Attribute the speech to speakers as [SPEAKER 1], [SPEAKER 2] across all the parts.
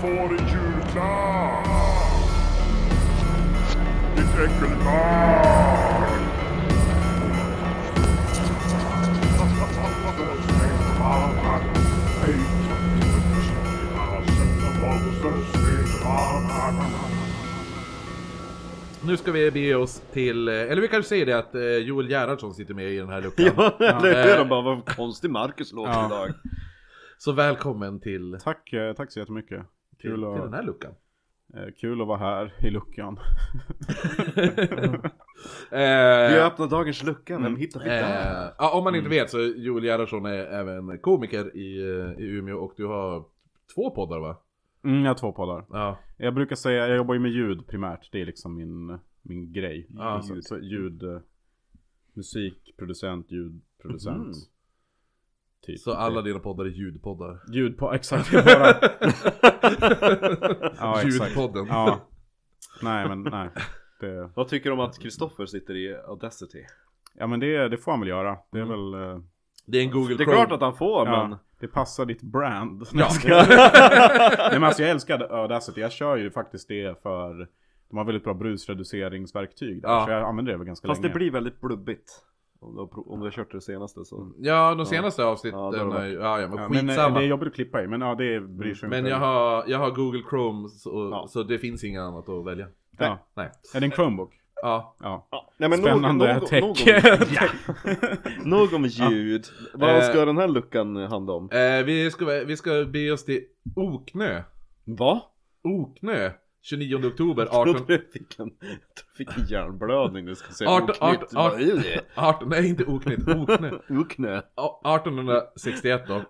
[SPEAKER 1] får i julklapp? Ditt äckelbarn!
[SPEAKER 2] Nu ska vi bege oss till, eh, eller vi kanske säger det att eh, Joel Gerhardsson sitter med i den här luckan.
[SPEAKER 3] Ja, eller hur?
[SPEAKER 2] Eh.
[SPEAKER 3] De bara, vad konstig Marcus låter
[SPEAKER 4] Ja.
[SPEAKER 3] idag.
[SPEAKER 2] Så välkommen till,
[SPEAKER 4] Tack, eh, tack så jättemycket.
[SPEAKER 2] till, till
[SPEAKER 4] Kul,
[SPEAKER 2] den
[SPEAKER 4] att,
[SPEAKER 2] här luckan.
[SPEAKER 4] eh, kul att vara här i luckan.
[SPEAKER 3] Vi
[SPEAKER 2] Eh,
[SPEAKER 3] har öppnat dagens lucka, vem hittar vi där?
[SPEAKER 2] Eh, ja, om man inte vet så Joel Gerhardsson är även komiker i, eh, i Umeå och du har två poddar va?
[SPEAKER 4] Mm, jag har två poddar.
[SPEAKER 2] Ja.
[SPEAKER 4] Jag brukar säga, jag jobbar ju med ljud primärt. Det är liksom min, min grej.
[SPEAKER 2] Ja.
[SPEAKER 4] Så, så ljud, eh, musik, producent, ljudproducent.
[SPEAKER 2] Mhm.
[SPEAKER 4] Typ.
[SPEAKER 2] Så alla dina poddar är ljudpoddar.
[SPEAKER 4] Ljud på, exakt. det är Bara, ja, exakt.
[SPEAKER 2] Ljudpodden.
[SPEAKER 4] Ja. Nej men nej. Det,
[SPEAKER 3] Vad tycker du om att Kristoffer sitter i Audacity?
[SPEAKER 4] ja men det, det får han väl göra. Det är
[SPEAKER 2] Mm.
[SPEAKER 4] väl... eh,
[SPEAKER 2] Det är en Google
[SPEAKER 3] Det är
[SPEAKER 2] Chrome.
[SPEAKER 3] klart att han får,
[SPEAKER 4] Ja,
[SPEAKER 3] men...
[SPEAKER 4] det passar ditt brand.
[SPEAKER 2] Ja.
[SPEAKER 4] Nej men alltså jag älskar Audacity. Jag kör ju faktiskt det för de har väldigt bra brusreduceringsverktyg där,
[SPEAKER 2] Ja.
[SPEAKER 4] Så jag använder det väl ganska
[SPEAKER 3] Fast det
[SPEAKER 4] länge.
[SPEAKER 3] blir väldigt blubbigt. Om du har, pro- om du har kört det senaste så.
[SPEAKER 2] Ja, de senaste avsnitten.
[SPEAKER 3] Ja,
[SPEAKER 2] Ja,
[SPEAKER 3] det har varit.
[SPEAKER 2] ja, men
[SPEAKER 4] Ja, men eh,
[SPEAKER 2] skitsamma.
[SPEAKER 4] det är
[SPEAKER 2] Men,
[SPEAKER 4] jobbigt att klippa i. Men ja, det bryr sig inte.
[SPEAKER 2] jag, har, jag har Google Chrome så,
[SPEAKER 3] Ja.
[SPEAKER 2] så det finns inget annat att välja.
[SPEAKER 4] Ja.
[SPEAKER 2] Nej.
[SPEAKER 4] Är det en Chromebook?
[SPEAKER 2] Ja.
[SPEAKER 4] Ja.
[SPEAKER 3] Nej, men
[SPEAKER 4] Spännande
[SPEAKER 3] nog, nog,
[SPEAKER 4] tech.
[SPEAKER 3] nog, om, nog om ljud. Vad ska
[SPEAKER 2] Eh.
[SPEAKER 3] den här luckan handla om?
[SPEAKER 2] Eh, vi, ska, vi ska bege oss till Oknö.
[SPEAKER 3] Va?
[SPEAKER 2] Oknö. 29 oktober
[SPEAKER 3] Jag
[SPEAKER 2] 18...
[SPEAKER 3] trodde jag fick en, jag trodde jag fick en hjärnblödning nu ska säga.
[SPEAKER 2] Arton-
[SPEAKER 3] Oknytt.
[SPEAKER 2] arton-
[SPEAKER 3] Vad är det?
[SPEAKER 2] 18, nej inte Oknytt, Oknö.
[SPEAKER 3] Oknö.
[SPEAKER 2] Ja, 1861 då.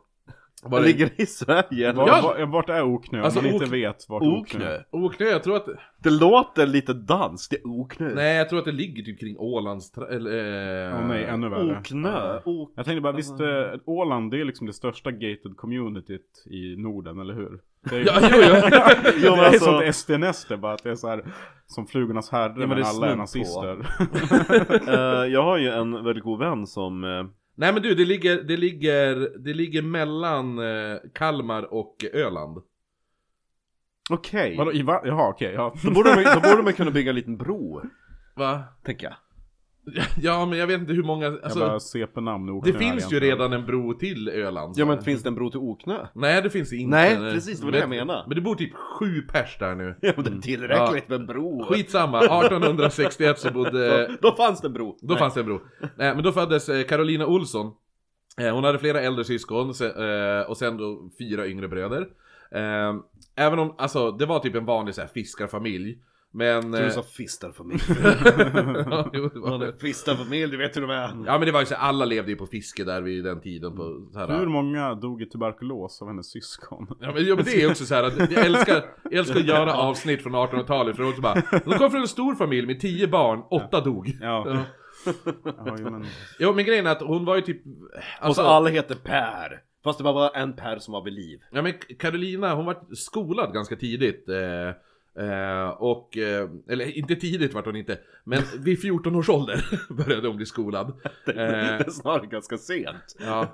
[SPEAKER 2] Var
[SPEAKER 3] Den
[SPEAKER 2] det
[SPEAKER 3] ligger i Sverige.
[SPEAKER 4] Var,
[SPEAKER 2] Ja.
[SPEAKER 4] var, vart är Oknö?
[SPEAKER 2] Alltså,
[SPEAKER 4] Om man inte
[SPEAKER 2] Ok-
[SPEAKER 4] vet vart Oknö är.
[SPEAKER 3] Oknö.
[SPEAKER 2] Oknö? Jag tror att...
[SPEAKER 3] Det låter lite danskt. Det är Oknö.
[SPEAKER 2] Nej, jag tror att det ligger typ kring Ålands... tra- Eller... eh,
[SPEAKER 4] Åh nej, ännu värre.
[SPEAKER 3] Oknö. Ok- Alltså.
[SPEAKER 4] Jag tänkte bara,
[SPEAKER 2] Alltså-
[SPEAKER 4] visst eh, Åland det är liksom det största gated communityt i Norden, eller hur? Det är,
[SPEAKER 2] Ja, jo, ja.
[SPEAKER 3] Jo,
[SPEAKER 4] det
[SPEAKER 3] men
[SPEAKER 4] är
[SPEAKER 3] alltså-
[SPEAKER 4] sånt SD-näste bara att det är så här som flugornas herre
[SPEAKER 3] men
[SPEAKER 4] men,
[SPEAKER 3] det är
[SPEAKER 4] alla
[SPEAKER 3] snudd
[SPEAKER 4] är
[SPEAKER 3] på.
[SPEAKER 2] Mm.
[SPEAKER 4] nazister.
[SPEAKER 3] Eh, jag har ju en väldigt god vän som... eh,
[SPEAKER 2] Nej men du, det ligger, det ligger, det ligger mellan eh, Kalmar och Öland.
[SPEAKER 3] Okej.
[SPEAKER 4] Vadå, i va? Jaha okej, ja.
[SPEAKER 3] Då borde, man, då borde man kunna bygga en liten bro.
[SPEAKER 2] Va?
[SPEAKER 3] Tänker jag.
[SPEAKER 2] Ja, men jag vet inte hur många...
[SPEAKER 4] jag
[SPEAKER 2] Alltså,
[SPEAKER 4] bara CP-namn och
[SPEAKER 2] det
[SPEAKER 4] Oknö här
[SPEAKER 2] finns ju
[SPEAKER 4] egentligen.
[SPEAKER 2] redan en bro till Öland.
[SPEAKER 3] Ja men finns det en bro till Oknö?
[SPEAKER 2] Nej, det finns inte.
[SPEAKER 3] Nej, precis, det var det jag
[SPEAKER 2] Men-
[SPEAKER 3] menade.
[SPEAKER 2] Men det bor typ sju pers där nu.
[SPEAKER 3] Ja men det
[SPEAKER 4] Mm.
[SPEAKER 3] är tillräckligt med en bro.
[SPEAKER 2] Skitsamma, 1861 så bodde...
[SPEAKER 3] Då, då fanns det en bro.
[SPEAKER 2] Då fanns det en bro. Nej, men då föddes eh, Carolina Olsson. Eh, Hon hade flera äldre syskon se- eh, och sen då fyra yngre bröder. Eh, Även om, alltså det var typ en vanlig så här, fiskarfamilj. Men...
[SPEAKER 3] Du
[SPEAKER 2] eh,
[SPEAKER 3] sa fistarfamilj.
[SPEAKER 2] ja, jo, det var det.
[SPEAKER 3] Fistarfamilj, du vet hur de är.
[SPEAKER 2] ja men det var ju så här, alla levde ju på fiske där vid den tiden på så här,
[SPEAKER 4] Hur många dog i tuberkulos av hennes syskon?
[SPEAKER 2] Ja men, ja men det är också så här att jag älskar, jag älskar att göra avsnitt från 1800-talet för det är också bara De kom från en stor familj med tio barn, åtta dog.
[SPEAKER 4] Ja. ja jo, men...
[SPEAKER 2] Jo men grejen är att hon var ju typ...
[SPEAKER 3] Och så
[SPEAKER 2] Alltså,
[SPEAKER 3] alla heter Per. Fast det bara var en Per som var vid liv.
[SPEAKER 2] Ja men Carolina, hon var skolad ganska tidigt. Eh, eh, och, eh, eller inte tidigt vart hon inte, men vid 14 års ålder började hon bli skolad.
[SPEAKER 3] Det
[SPEAKER 2] Eh,
[SPEAKER 3] är snarare ganska sent.
[SPEAKER 2] ja.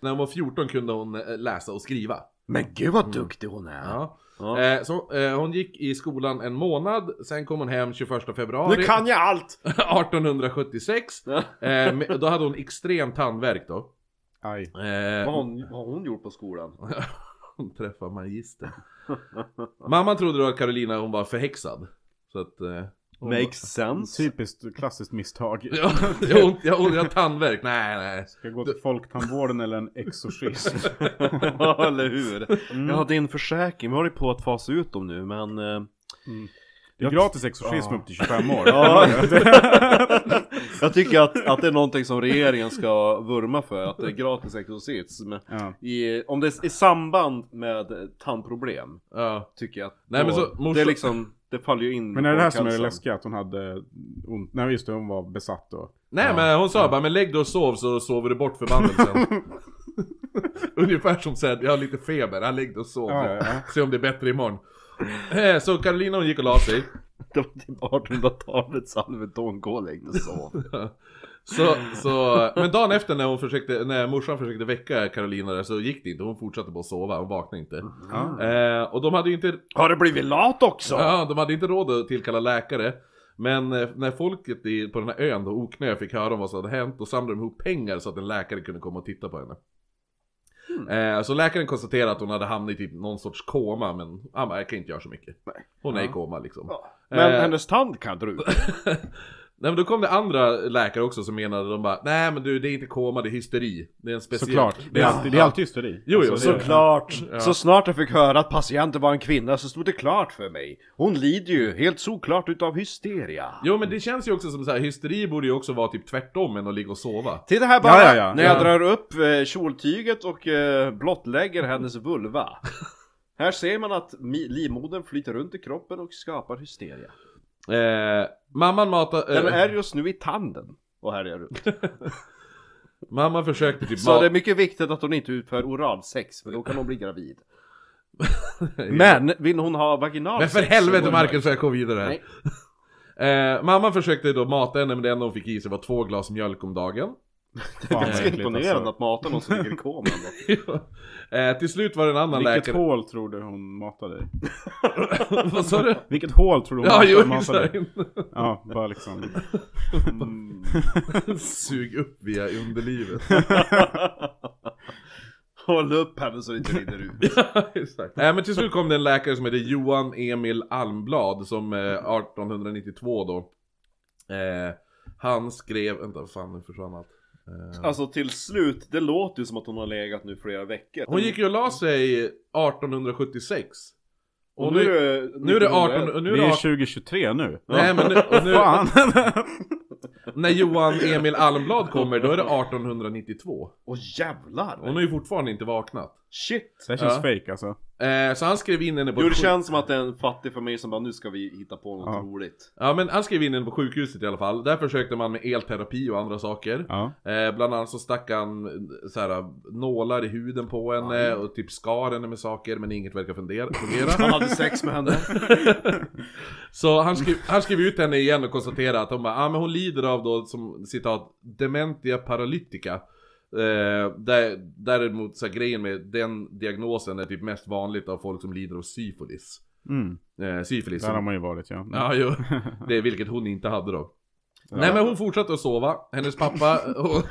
[SPEAKER 2] När hon var 14 kunde hon eh, läsa och skriva.
[SPEAKER 3] Men gud vad duktig hon är.
[SPEAKER 2] Ja.
[SPEAKER 3] Ja.
[SPEAKER 2] Eh, så, eh, hon gick i skolan en månad, sen kom hon hem 21 februari
[SPEAKER 3] Nu kan jag allt!
[SPEAKER 2] 1876.
[SPEAKER 3] Ja.
[SPEAKER 2] Eh, men då hade hon extrem tandvärk då.
[SPEAKER 4] Aj.
[SPEAKER 2] Eh,
[SPEAKER 3] Vad har hon, vad har hon gjort på skolan?
[SPEAKER 2] Hon träffar magister. Mamman trodde då att Carolina hon var förhäxad. Så att... Eh, hon
[SPEAKER 3] sense.
[SPEAKER 4] Typiskt klassiskt misstag.
[SPEAKER 2] Ja, jag har ont- jag har ont- jag har tandvärk. Nej, nej.
[SPEAKER 4] Ska jag gå till folktandvården eller en exorcism?
[SPEAKER 3] Ja, eller hur? Ja, din försäkring. Vi håller på att fasa ut dem nu, men... eh,
[SPEAKER 4] Det är gratis exorcism upp till 25 år.
[SPEAKER 3] Ja. jag tycker att, att det är någonting som regeringen ska vurma för, att det är gratis exorcism.
[SPEAKER 4] Ja.
[SPEAKER 3] I, om det är i samband med tandproblem,
[SPEAKER 2] Ja.
[SPEAKER 3] tycker jag att
[SPEAKER 2] Nej,
[SPEAKER 3] då,
[SPEAKER 2] men så, morsan-
[SPEAKER 3] det är liksom, det faller ju in
[SPEAKER 4] Men är det här som är det
[SPEAKER 2] liksom-
[SPEAKER 3] folkhälsan.
[SPEAKER 4] läskiga? Att hon hade ont? Nej just det, hon var besatt då.
[SPEAKER 2] Nej men hon sa bara, men lägg dig och sov så sover du bort förbannelsen. Ungefär som såhär, jag har lite feber, ja, lägg dig och sov.
[SPEAKER 4] Ja, ja, ja.
[SPEAKER 2] Se om det är bättre imorgon. Eh, Så Carolina hon gick och la sig.
[SPEAKER 3] Det var typ 1800-talets salvetonkola hängde och sov.
[SPEAKER 2] Så, så, men dagen efter när, hon försökte, när morsan försökte väcka Carolina där så gick det inte, hon fortsatte bara att sova, hon vaknade inte. Eh, och de hade ju inte,
[SPEAKER 3] Har det blivit lat också?
[SPEAKER 2] ja, de hade inte råd att tillkalla läkare. Men eh, när folket i, på den här ön, då, Oknö, fick höra om vad som hade hänt, då samlade de ihop pengar så att en läkare kunde komma och titta på henne. Eh, så läkaren konstaterade att hon hade hamnat i typ någon sorts koma, men han bara, jag kan inte göra så mycket. Hon är i koma liksom.
[SPEAKER 3] Men
[SPEAKER 2] Eh.
[SPEAKER 3] hennes tand kan dra ut.
[SPEAKER 2] Nej men då kom det andra läkare också som menade, de bara Nej men du det är inte koma, det är hysteri Det är en speciell
[SPEAKER 4] Såklart, det är alltid, det är alltid hysteri.
[SPEAKER 2] Jo, jo,
[SPEAKER 4] Alltså, det-
[SPEAKER 3] Såklart!
[SPEAKER 2] Ja.
[SPEAKER 3] Så snart jag fick höra att patienten var en kvinna så stod det klart för mig. Hon lider ju helt såklart utav hysteria.
[SPEAKER 2] Jo men det känns ju också som så här, hysteri borde ju också vara typ tvärtom än att ligga och sova
[SPEAKER 3] Titta här bara,
[SPEAKER 4] Ja, ja, ja.
[SPEAKER 3] när jag
[SPEAKER 2] Ja.
[SPEAKER 3] drar upp eh, kjoltyget och eh, blottlägger hennes vulva. här ser man att mi- livmodern flyter runt i kroppen och skapar hysteria.
[SPEAKER 2] eh, Mamman matade...
[SPEAKER 3] Den
[SPEAKER 2] Eh,
[SPEAKER 3] är just nu i tanden och härjar runt.
[SPEAKER 2] Mamman försökte typ
[SPEAKER 3] Så
[SPEAKER 2] ma-
[SPEAKER 3] det är mycket viktigt att hon inte utför oralsex för då kan hon bli gravid.
[SPEAKER 2] Men
[SPEAKER 3] Men vill hon ha vaginal
[SPEAKER 2] Men för
[SPEAKER 3] sex, så går
[SPEAKER 2] helvete
[SPEAKER 3] det
[SPEAKER 2] Marcus, jag kom vidare här. Eh, mamman försökte då mata henne men det enda hon fick i sig var två glas mjölk om dagen.
[SPEAKER 4] Fan, vad
[SPEAKER 3] Ganska
[SPEAKER 4] äckligt,
[SPEAKER 3] imponerande
[SPEAKER 4] alltså.
[SPEAKER 3] att mata någon som ligger i koman då.
[SPEAKER 2] eh, till slut var det en annan
[SPEAKER 4] Vilket
[SPEAKER 2] läkare...
[SPEAKER 4] hål tror du hon matade i?
[SPEAKER 2] Vad sa du?
[SPEAKER 4] Vilket hål tror du hon
[SPEAKER 2] Ja, jo,
[SPEAKER 4] matade i?
[SPEAKER 2] exakt. Mm.
[SPEAKER 4] Ja, bara liksom.
[SPEAKER 2] Sug upp via underlivet.
[SPEAKER 3] Håll upp henne så det inte rinner ut.
[SPEAKER 2] Exakt. Eh, men till slut kom det en läkare som hette Johan Emil Almblad som eh, 1892 då eh, Han skrev, vänta fan nu försvann allt eh,
[SPEAKER 3] Alltså till slut, det låter ju som att hon har legat nu flera veckor.
[SPEAKER 2] Hon gick ju och la sig 1876 Och,
[SPEAKER 3] Och
[SPEAKER 2] nu, nu,
[SPEAKER 3] är det,
[SPEAKER 2] är det 18, och
[SPEAKER 4] Det
[SPEAKER 2] nu är det
[SPEAKER 4] är
[SPEAKER 2] 18
[SPEAKER 4] 2023 nu.
[SPEAKER 2] Nej men nu, och nu,
[SPEAKER 4] Fan!
[SPEAKER 2] när Johan Emil Almblad kommer då är det 1892
[SPEAKER 3] Åh jävlar!
[SPEAKER 2] Hon har ju fortfarande inte vaknat
[SPEAKER 3] Shit!
[SPEAKER 4] Det här känns
[SPEAKER 2] Ja.
[SPEAKER 4] fake alltså.
[SPEAKER 2] eh, Så han skrev in henne på
[SPEAKER 3] Jo det
[SPEAKER 2] ett sjuk-
[SPEAKER 3] känns som att det är en fattig familj som bara nu ska vi hitta på något
[SPEAKER 4] Ja.
[SPEAKER 3] roligt.
[SPEAKER 2] Ja men han skrev in henne på sjukhuset i alla fall Där försökte man med elterapi och andra saker
[SPEAKER 4] Ja.
[SPEAKER 2] Eh, bland annat så stack han eh, så här, nålar i huden på henne och typ skar henne med saker men inget verkar fundera,
[SPEAKER 3] Han
[SPEAKER 2] fungera.
[SPEAKER 3] hade sex med henne.
[SPEAKER 2] så han skrev, han skrev ut henne igen och konstaterade att hon, bara, ah, men hon lider av då som citat dementia paralytica. Eh, där, däremot så här, grejen med den diagnosen är typ mest vanligt av folk som lider av syfilis.
[SPEAKER 4] Mm.
[SPEAKER 2] Eh, syfilis.
[SPEAKER 4] Där har man ju varit ja.
[SPEAKER 2] Ja, jo. Det är vilket hon inte hade då. Nej men hon fortsatte att sova, hennes pappa, och,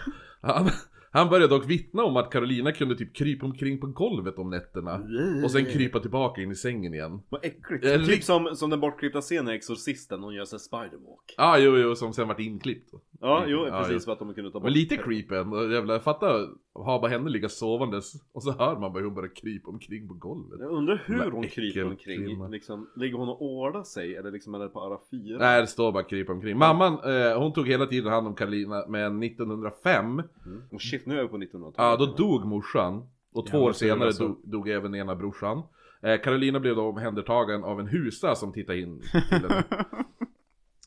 [SPEAKER 2] han, han började dock vittna om att Carolina kunde typ krypa omkring på golvet om nätterna. Och sen krypa tillbaka in i sängen igen.
[SPEAKER 3] Vad äckligt.
[SPEAKER 2] Eh,
[SPEAKER 3] Typ
[SPEAKER 2] lik-
[SPEAKER 3] som, som den bortklippta scenen i Exorcisten, hon gör sig spiderwalk.
[SPEAKER 2] Ja ah, jo jo, som sen vart inklippt.
[SPEAKER 3] Ja, jo
[SPEAKER 2] Ja,
[SPEAKER 3] precis
[SPEAKER 2] jo.
[SPEAKER 3] för att de kunde ta bort
[SPEAKER 2] Men lite creepy ändå, jävlar fatta, ha bara henne ligga sovandes och så hör man bara hur hon börjar krypa omkring på golvet.
[SPEAKER 3] Jag undrar
[SPEAKER 2] De
[SPEAKER 3] hur
[SPEAKER 2] där
[SPEAKER 3] hon kryper
[SPEAKER 2] äckelfilmerna.
[SPEAKER 3] omkring. Liksom, ligger hon och ålar sig eller liksom är det på alla fyra?
[SPEAKER 2] Nej det står bara krypa omkring. Mamman, eh, hon tog hela tiden hand om Carolina, men 1905,
[SPEAKER 3] Mm. Och shit, nu är vi på 1900-talet.
[SPEAKER 2] ja då dog morsan. Och två
[SPEAKER 4] Jävla
[SPEAKER 2] år
[SPEAKER 4] tur
[SPEAKER 2] senare
[SPEAKER 4] alltså.
[SPEAKER 2] dog, dog även ena brorsan. Eh, Carolina blev då omhändertagen av en husa som tittade in till henne.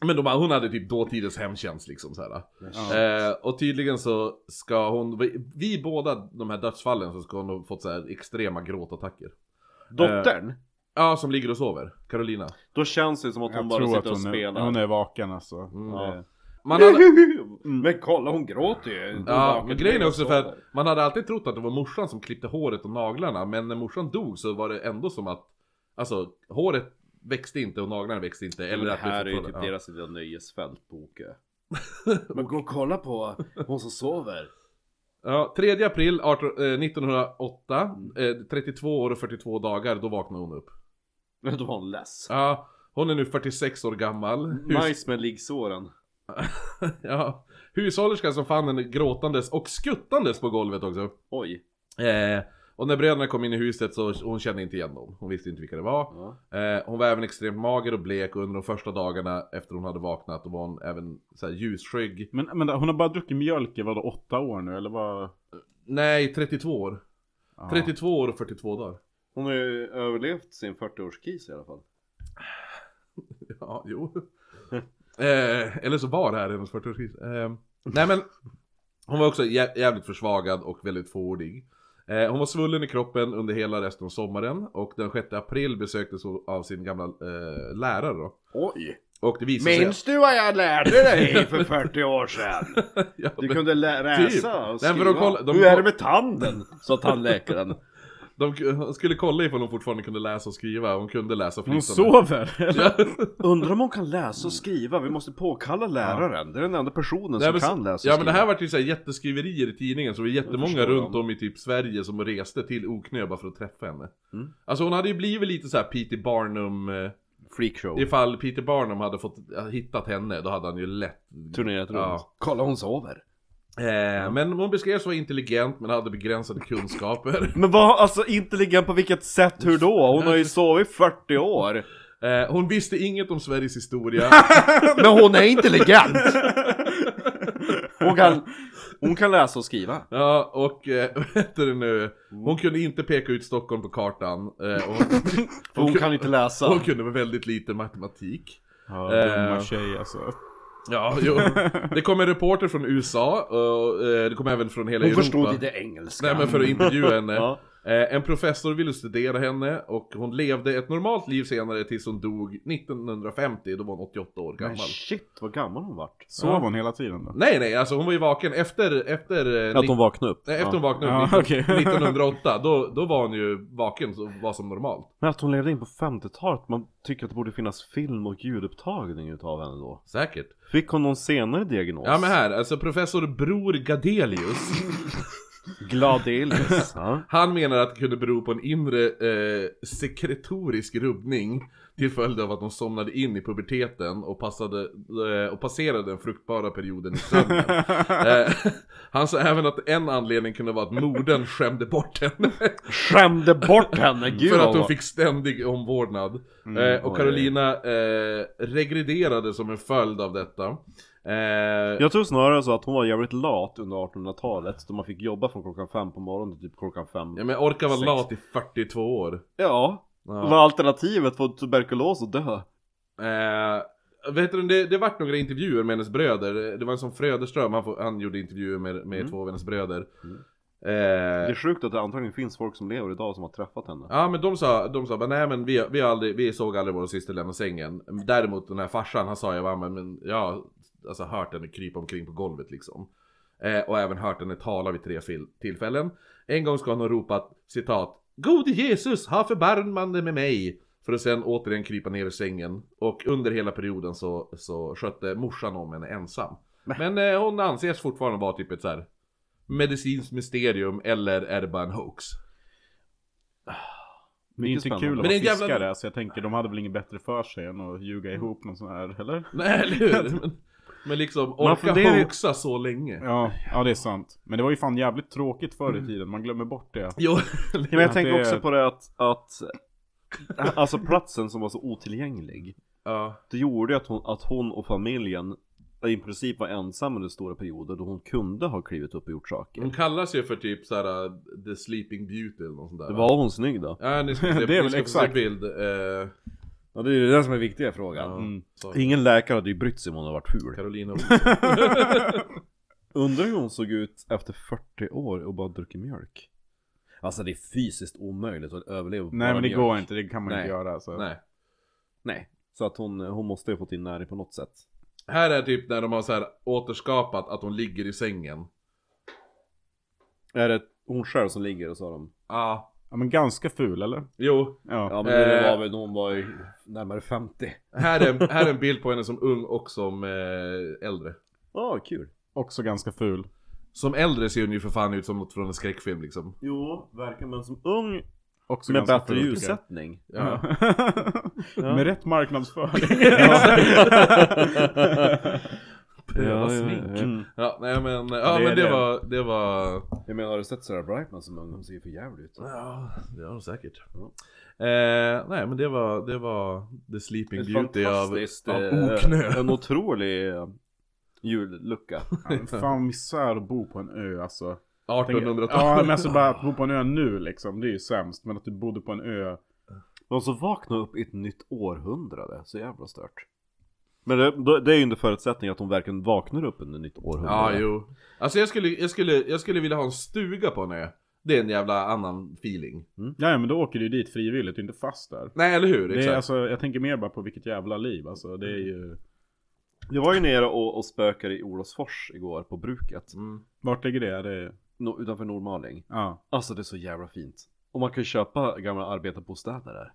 [SPEAKER 2] Men de, hon hade typ dåtidens hemtjänst liksom så här.
[SPEAKER 4] Ja.
[SPEAKER 2] Eh, och tydligen så ska hon, vi- vid båda de här dödsfallen så ska hon ha fått så här extrema gråtattacker.
[SPEAKER 3] Dottern?
[SPEAKER 2] Eh. Ja, som ligger och sover. Carolina.
[SPEAKER 3] Då känns det som att hon
[SPEAKER 4] Jag
[SPEAKER 3] bara
[SPEAKER 4] tror att
[SPEAKER 3] sitter och
[SPEAKER 4] hon är,
[SPEAKER 3] spelar.
[SPEAKER 4] hon är vaken alltså.
[SPEAKER 3] Ja.
[SPEAKER 4] Eh,
[SPEAKER 2] Mm. Man hade,
[SPEAKER 3] Mm. Men kolla hon gråter ju! Hon
[SPEAKER 2] ja,
[SPEAKER 3] vaknar
[SPEAKER 2] men grejen är
[SPEAKER 3] och
[SPEAKER 2] också för att
[SPEAKER 3] sover.
[SPEAKER 2] man hade alltid trott att det var morsan som klippte håret och naglarna, men när morsan dog så var det ändå som att, alltså håret växte inte och naglarna växte inte. Eller
[SPEAKER 3] Men det
[SPEAKER 2] att
[SPEAKER 3] här är ju typ
[SPEAKER 2] fortfarande-
[SPEAKER 3] deras lilla nöjesfält på Okö. Men gå och kolla på hon som sover.
[SPEAKER 2] Ja, 3 april 18, eh, 1908, eh, 32 år och 42 dagar, då vaknade hon upp.
[SPEAKER 3] Men Då var hon less.
[SPEAKER 2] Ja, hon är nu 46 år gammal. Hus-
[SPEAKER 3] Nice med liggsåren.
[SPEAKER 2] ja. Hushållerskan som fann henne gråtandes och skuttandes på golvet också.
[SPEAKER 3] Oj.
[SPEAKER 2] Eh, och när bröderna kom in i huset så hon kände inte igen dem. Hon visste inte vilka det var.
[SPEAKER 3] Ja.
[SPEAKER 2] Eh, hon var även extremt mager och blek och under de första dagarna efter hon hade vaknat då var hon även så här ljusskygg.
[SPEAKER 4] Men, men hon har bara druckit mjölk i vadå, åtta år nu eller vad?
[SPEAKER 2] Nej, 32 år.
[SPEAKER 4] Ja.
[SPEAKER 2] 32 år och 42 dagar.
[SPEAKER 3] Hon har ju överlevt sin 40-årskris i alla fall.
[SPEAKER 2] Ja, jo. eh, eller så var det här hennes 40-årskris. Eh, nej men, hon var också jä- jävligt försvagad och väldigt fåordig. Eh, hon var svullen i kroppen under hela resten av sommaren och den 6 april besöktes hon av sin gamla eh, lärare då.
[SPEAKER 3] Oj!
[SPEAKER 2] Och det visade sig...
[SPEAKER 3] Minns du vad jag lärde dig för 40 år sedan?
[SPEAKER 2] Ja,
[SPEAKER 3] Du
[SPEAKER 2] men-
[SPEAKER 3] kunde lä- läsa och
[SPEAKER 2] Typ. Nej, men
[SPEAKER 3] skriva.
[SPEAKER 2] de koll- de
[SPEAKER 3] Hur är
[SPEAKER 2] koll-
[SPEAKER 3] det med tanden? Sa tandläkaren.
[SPEAKER 2] De k- skulle kolla ifall hon fortfarande kunde läsa och skriva, hon kunde läsa
[SPEAKER 4] Hon
[SPEAKER 2] flytande.
[SPEAKER 4] sover!
[SPEAKER 3] Undrar om hon kan läsa och skriva? Vi måste påkalla läraren. Det är den enda
[SPEAKER 2] Nej,
[SPEAKER 3] personen som
[SPEAKER 2] men,
[SPEAKER 3] Alltså, kan läsa och skriva.
[SPEAKER 2] ja men det här vart ju så här jätteskriverier i tidningen, så det var jättemånga
[SPEAKER 3] förstår
[SPEAKER 2] runt
[SPEAKER 3] dem.
[SPEAKER 2] om i typ Sverige som reste till Oknö bara för att träffa henne.
[SPEAKER 3] Mm.
[SPEAKER 2] Alltså hon hade ju blivit lite så här P.T. Barnum, eh,
[SPEAKER 3] Freakshow.
[SPEAKER 2] ifall P.T. Barnum hade fått, eh, hittat henne, då hade han ju lätt...
[SPEAKER 3] Turnerat runt.
[SPEAKER 2] Ja.
[SPEAKER 3] Kolla hon sover.
[SPEAKER 2] Eh, men hon beskrevs vara intelligent, men hade begränsade kunskaper.
[SPEAKER 3] Men vad, alltså intelligent på vilket sätt? Hur då? Hon har ju sovit 40 år.
[SPEAKER 2] Eh, hon visste inget om Sveriges historia.
[SPEAKER 3] Men hon är intelligent! Hon kan, hon kan läsa och skriva.
[SPEAKER 2] Ja, och eh, vad heter det nu?
[SPEAKER 3] Mm.
[SPEAKER 2] Hon kunde inte peka ut Stockholm på kartan. Eh, och hon,
[SPEAKER 3] För hon kan ju inte läsa.
[SPEAKER 2] hon kunde väl väldigt lite matematik.
[SPEAKER 4] Ja,
[SPEAKER 2] Eh.
[SPEAKER 4] dumma tjej alltså.
[SPEAKER 2] Ja, jo. Det kom en reporter från USA, och eh, det kom även från hela
[SPEAKER 3] Hon
[SPEAKER 2] Europa.
[SPEAKER 3] förstod inte engelska.
[SPEAKER 2] Nej men för att intervjua henne.
[SPEAKER 3] Ja.
[SPEAKER 2] Eh, en professor ville studera henne och hon levde ett normalt liv senare tills hon dog 1950, då var hon 88 år
[SPEAKER 3] Men
[SPEAKER 2] gammal.
[SPEAKER 3] shit vad gammal hon vart.
[SPEAKER 4] Sov hon hela tiden då?
[SPEAKER 2] Nej nej, alltså hon var ju vaken efter, efter, eh,
[SPEAKER 3] Att hon vaknade upp.
[SPEAKER 2] Nej, efter hon vaknade upp
[SPEAKER 4] Ja,
[SPEAKER 2] 19,
[SPEAKER 4] okej.
[SPEAKER 2] 1908, då, då var hon ju vaken och var som normalt.
[SPEAKER 3] Men att hon levde in på 50-talet, man tycker att det borde finnas film och ljudupptagning utav henne då.
[SPEAKER 2] Säkert.
[SPEAKER 3] Fick hon någon senare diagnos?
[SPEAKER 2] Ja men här, alltså professor Bror Gadelius,
[SPEAKER 3] Gladelius. ja.
[SPEAKER 2] han menar att det kunde bero på en inre eh, sekretorisk rubbning till följd av att hon somnade in i puberteten och, passade, eh, och passerade den fruktbara perioden i sömnen. eh, han sa även att en anledning kunde vara att modern skämde bort henne
[SPEAKER 3] Skämde bort henne, gud
[SPEAKER 2] för
[SPEAKER 3] vad
[SPEAKER 2] att hon
[SPEAKER 3] var-
[SPEAKER 2] fick ständig omvårdnad.
[SPEAKER 4] Mm,
[SPEAKER 2] eh, och
[SPEAKER 3] oj.
[SPEAKER 2] Carolina eh, regrederade som en följd av detta. Eh,
[SPEAKER 3] Jag tror snarare så att hon var jävligt lat under 1800-talet då man fick jobba från klockan fem på morgonen till typ klockan fem.
[SPEAKER 2] Ja men orka vara
[SPEAKER 3] Sex.
[SPEAKER 2] lat i 42 år.
[SPEAKER 3] Ja,
[SPEAKER 2] Ja.
[SPEAKER 3] var alternativet var tuberkulos och dö?
[SPEAKER 2] Eh, vet du, det, det vart några intervjuer med hennes bröder. Det var en som Fröderström, han, får- han gjorde intervjuer med, med
[SPEAKER 3] Mm.
[SPEAKER 2] två av hennes bröder.
[SPEAKER 3] Mm. Det är
[SPEAKER 2] Eh,
[SPEAKER 3] sjukt att det antagligen finns folk som lever idag som har träffat henne.
[SPEAKER 2] ja men de sa, de sa bara, nej men vi, vi, har aldrig, vi såg aldrig vår syster lämna sängen. Däremot den här farsan, han sa jag bara, men- men jag har alltså, hört henne krypa omkring på golvet liksom. Eh, och även hört henne tala vid tre fil- tillfällen. En gång ska hon ha ropat, citat, Gode Jesus, ha förbarmande med mig! För att sen återigen krypa ner i sängen. Och under hela perioden så, så skötte morsan om henne ensam. Men eh, hon anses fortfarande vara typ ett så här medicinskt mysterium, eller är det bara en hoax?
[SPEAKER 4] Det är inte
[SPEAKER 3] spännande.
[SPEAKER 4] kul
[SPEAKER 2] Men
[SPEAKER 4] att
[SPEAKER 2] det
[SPEAKER 4] vara
[SPEAKER 2] är en jävla-
[SPEAKER 4] fiskare, så jag tänker de hade väl inget bättre för sig än att ljuga
[SPEAKER 3] Mm.
[SPEAKER 4] ihop någon sån här, eller?
[SPEAKER 2] Nej, eller hur? Men, men liksom, orka
[SPEAKER 4] funderar ju-
[SPEAKER 2] hoaxa så länge.
[SPEAKER 4] Ja, ja det är sant. Men det var ju fan jävligt tråkigt förr i tiden, man glömmer bort det.
[SPEAKER 2] Jo,
[SPEAKER 3] Mm. Ja, men jag
[SPEAKER 4] Att
[SPEAKER 3] tänker
[SPEAKER 4] det-
[SPEAKER 3] också på det att, att Alltså platsen som var så otillgänglig
[SPEAKER 2] ja.
[SPEAKER 3] Det gjorde ju att hon, att hon och familjen i princip var ensam under stora perioder då hon kunde ha klivit upp och gjort saker
[SPEAKER 2] Hon kallas ju för typ såhär uh, The Sleeping Beauty eller något sånt där.
[SPEAKER 3] Det
[SPEAKER 2] va?
[SPEAKER 3] Var hon snygg då?
[SPEAKER 2] Ja, ni ska få se,
[SPEAKER 4] Det är
[SPEAKER 2] ni
[SPEAKER 4] väl
[SPEAKER 2] ska få se
[SPEAKER 4] exakt.
[SPEAKER 2] bild. eh,
[SPEAKER 3] Ja det är ju den som är viktiga frågan
[SPEAKER 2] ja,
[SPEAKER 4] Mm.
[SPEAKER 2] så.
[SPEAKER 3] Ingen läkare hade ju brytt sig om hon hade varit ful
[SPEAKER 2] Carolina och...
[SPEAKER 3] Undrar hur hon såg ut efter 40 år och bara druckit mjölk Alltså det är fysiskt omöjligt att överleva på
[SPEAKER 4] Nej
[SPEAKER 3] bara
[SPEAKER 4] men det
[SPEAKER 3] mjölk.
[SPEAKER 4] går inte, det kan man
[SPEAKER 3] Nej.
[SPEAKER 4] inte göra. alltså. Så.
[SPEAKER 2] Nej.
[SPEAKER 3] Nej Så att hon, hon måste ju ha fått in näring på något sätt
[SPEAKER 2] Här är typ när de har så här återskapat att hon ligger i sängen.
[SPEAKER 3] Är det hon själv som ligger och så har de
[SPEAKER 2] Ja,
[SPEAKER 4] Ja, men ganska ful eller?
[SPEAKER 2] jo.
[SPEAKER 4] Ja.
[SPEAKER 3] Ja men
[SPEAKER 2] Eh.
[SPEAKER 3] det var väl när hon var ju närmare 50
[SPEAKER 2] Här är, här är en bild på henne som ung och som eh, äldre.
[SPEAKER 3] Ja, kul
[SPEAKER 4] Också ganska ful.
[SPEAKER 2] Som äldre ser hon ju för fan ut som något från en skräckfilm liksom.
[SPEAKER 3] Jo, verkar men som ung
[SPEAKER 4] Också
[SPEAKER 3] Med
[SPEAKER 4] ganska
[SPEAKER 3] bättre
[SPEAKER 4] ful, tycker jag.
[SPEAKER 3] ljussättning
[SPEAKER 4] Mm.
[SPEAKER 2] Ja.
[SPEAKER 3] Ja.
[SPEAKER 4] Med rätt marknadsföring.
[SPEAKER 2] Pröva smink.
[SPEAKER 3] Mm.
[SPEAKER 2] Ja, nej men, ja,
[SPEAKER 4] Det är
[SPEAKER 2] men det
[SPEAKER 4] det.
[SPEAKER 2] var, det var...
[SPEAKER 3] Jag menar har du sett Sarah Brightman som ung? Hon ser ju för jävligt ut
[SPEAKER 2] Ja, det har de säkert.
[SPEAKER 3] Ja.
[SPEAKER 2] Eh, nej men det var, det var The Sleeping
[SPEAKER 3] Ett
[SPEAKER 2] Beauty av,
[SPEAKER 3] fantastiskt,
[SPEAKER 2] av
[SPEAKER 3] eh,
[SPEAKER 2] Oknö.
[SPEAKER 3] En otrolig eh, jullucka
[SPEAKER 4] Ja, men fan misär att bo på en ö alltså. Tänk-
[SPEAKER 2] 1800-talet.
[SPEAKER 4] Ja men alltså bara att bo på en ö nu liksom, det är ju sämst. Men att du bodde på en ö.
[SPEAKER 3] De som vaknar upp i ett nytt århundrade, så jävla stört Men det, då- det är ju under förutsättning att hon verkligen vaknar upp under ett nytt århundrade
[SPEAKER 2] Ja, jo. Alltså jag skulle, jag, skulle, jag skulle vilja ha en stuga på en ö. Det är en jävla annan feeling.
[SPEAKER 4] Mm. Ja, ja, men då åker du ju dit frivilligt, du är inte fast där.
[SPEAKER 2] Nej, eller hur?
[SPEAKER 4] Det
[SPEAKER 2] Exakt.
[SPEAKER 4] är, alltså, jag tänker mer bara på vilket jävla liv alltså. Det är ju...
[SPEAKER 3] Jag var ju nere och, och spökade i Olofsfors igår på bruket.
[SPEAKER 2] mm.
[SPEAKER 4] Vart ligger det? det är...
[SPEAKER 3] No, utanför Norrmaling.
[SPEAKER 4] ja.
[SPEAKER 3] Alltså det är så jävla fint. Och man kan ju köpa gamla arbetarbostäder där.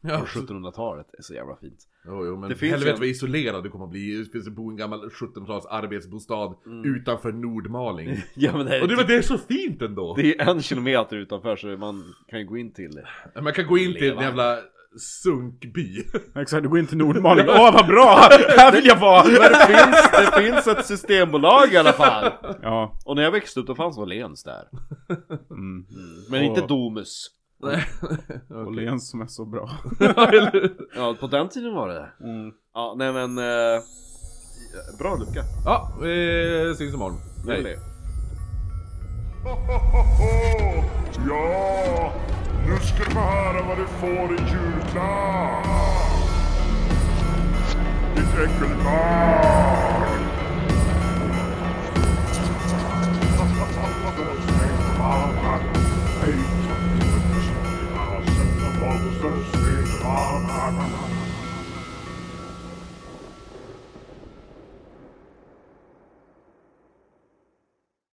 [SPEAKER 2] Ja,
[SPEAKER 3] Från 1700-talet. Det är så jävla fint.
[SPEAKER 2] Jo, jo, men
[SPEAKER 3] Det finns
[SPEAKER 2] helvete
[SPEAKER 3] en-
[SPEAKER 2] vad isolerad du kommer att bli. Du finns bo i en gammal 1700-tals arbetsbostad
[SPEAKER 4] Mm.
[SPEAKER 2] utanför Nordmaling.
[SPEAKER 3] Ja men det
[SPEAKER 2] Mm. Och det,
[SPEAKER 3] är, typ-
[SPEAKER 2] men det är så fint ändå!
[SPEAKER 3] det är en kilometer utanför så man kan ju gå in till det.
[SPEAKER 2] Man kan gå in till en jävla sunkby.
[SPEAKER 4] Exakt, du går in till Nordmaling. Åh vad bra! Här vill jag vara!
[SPEAKER 3] Men det finns, det finns ett systembolag i alla fall!
[SPEAKER 4] Ja.
[SPEAKER 3] Och när jag växte upp då fanns Åhléns där.
[SPEAKER 4] Mm.
[SPEAKER 3] Men inte
[SPEAKER 4] Och-
[SPEAKER 3] Domus.
[SPEAKER 4] Åhléns som är så bra.
[SPEAKER 3] Ja, på den tiden var det det.
[SPEAKER 4] Mm.
[SPEAKER 3] Ja, nej men... eh, bra lucka.
[SPEAKER 2] ja, eh, syns imorgon.
[SPEAKER 3] Hej.
[SPEAKER 1] Hohoho! Ja, nu ska du få höra vad du får i julklapp! Ditt äckelbarn! Hej!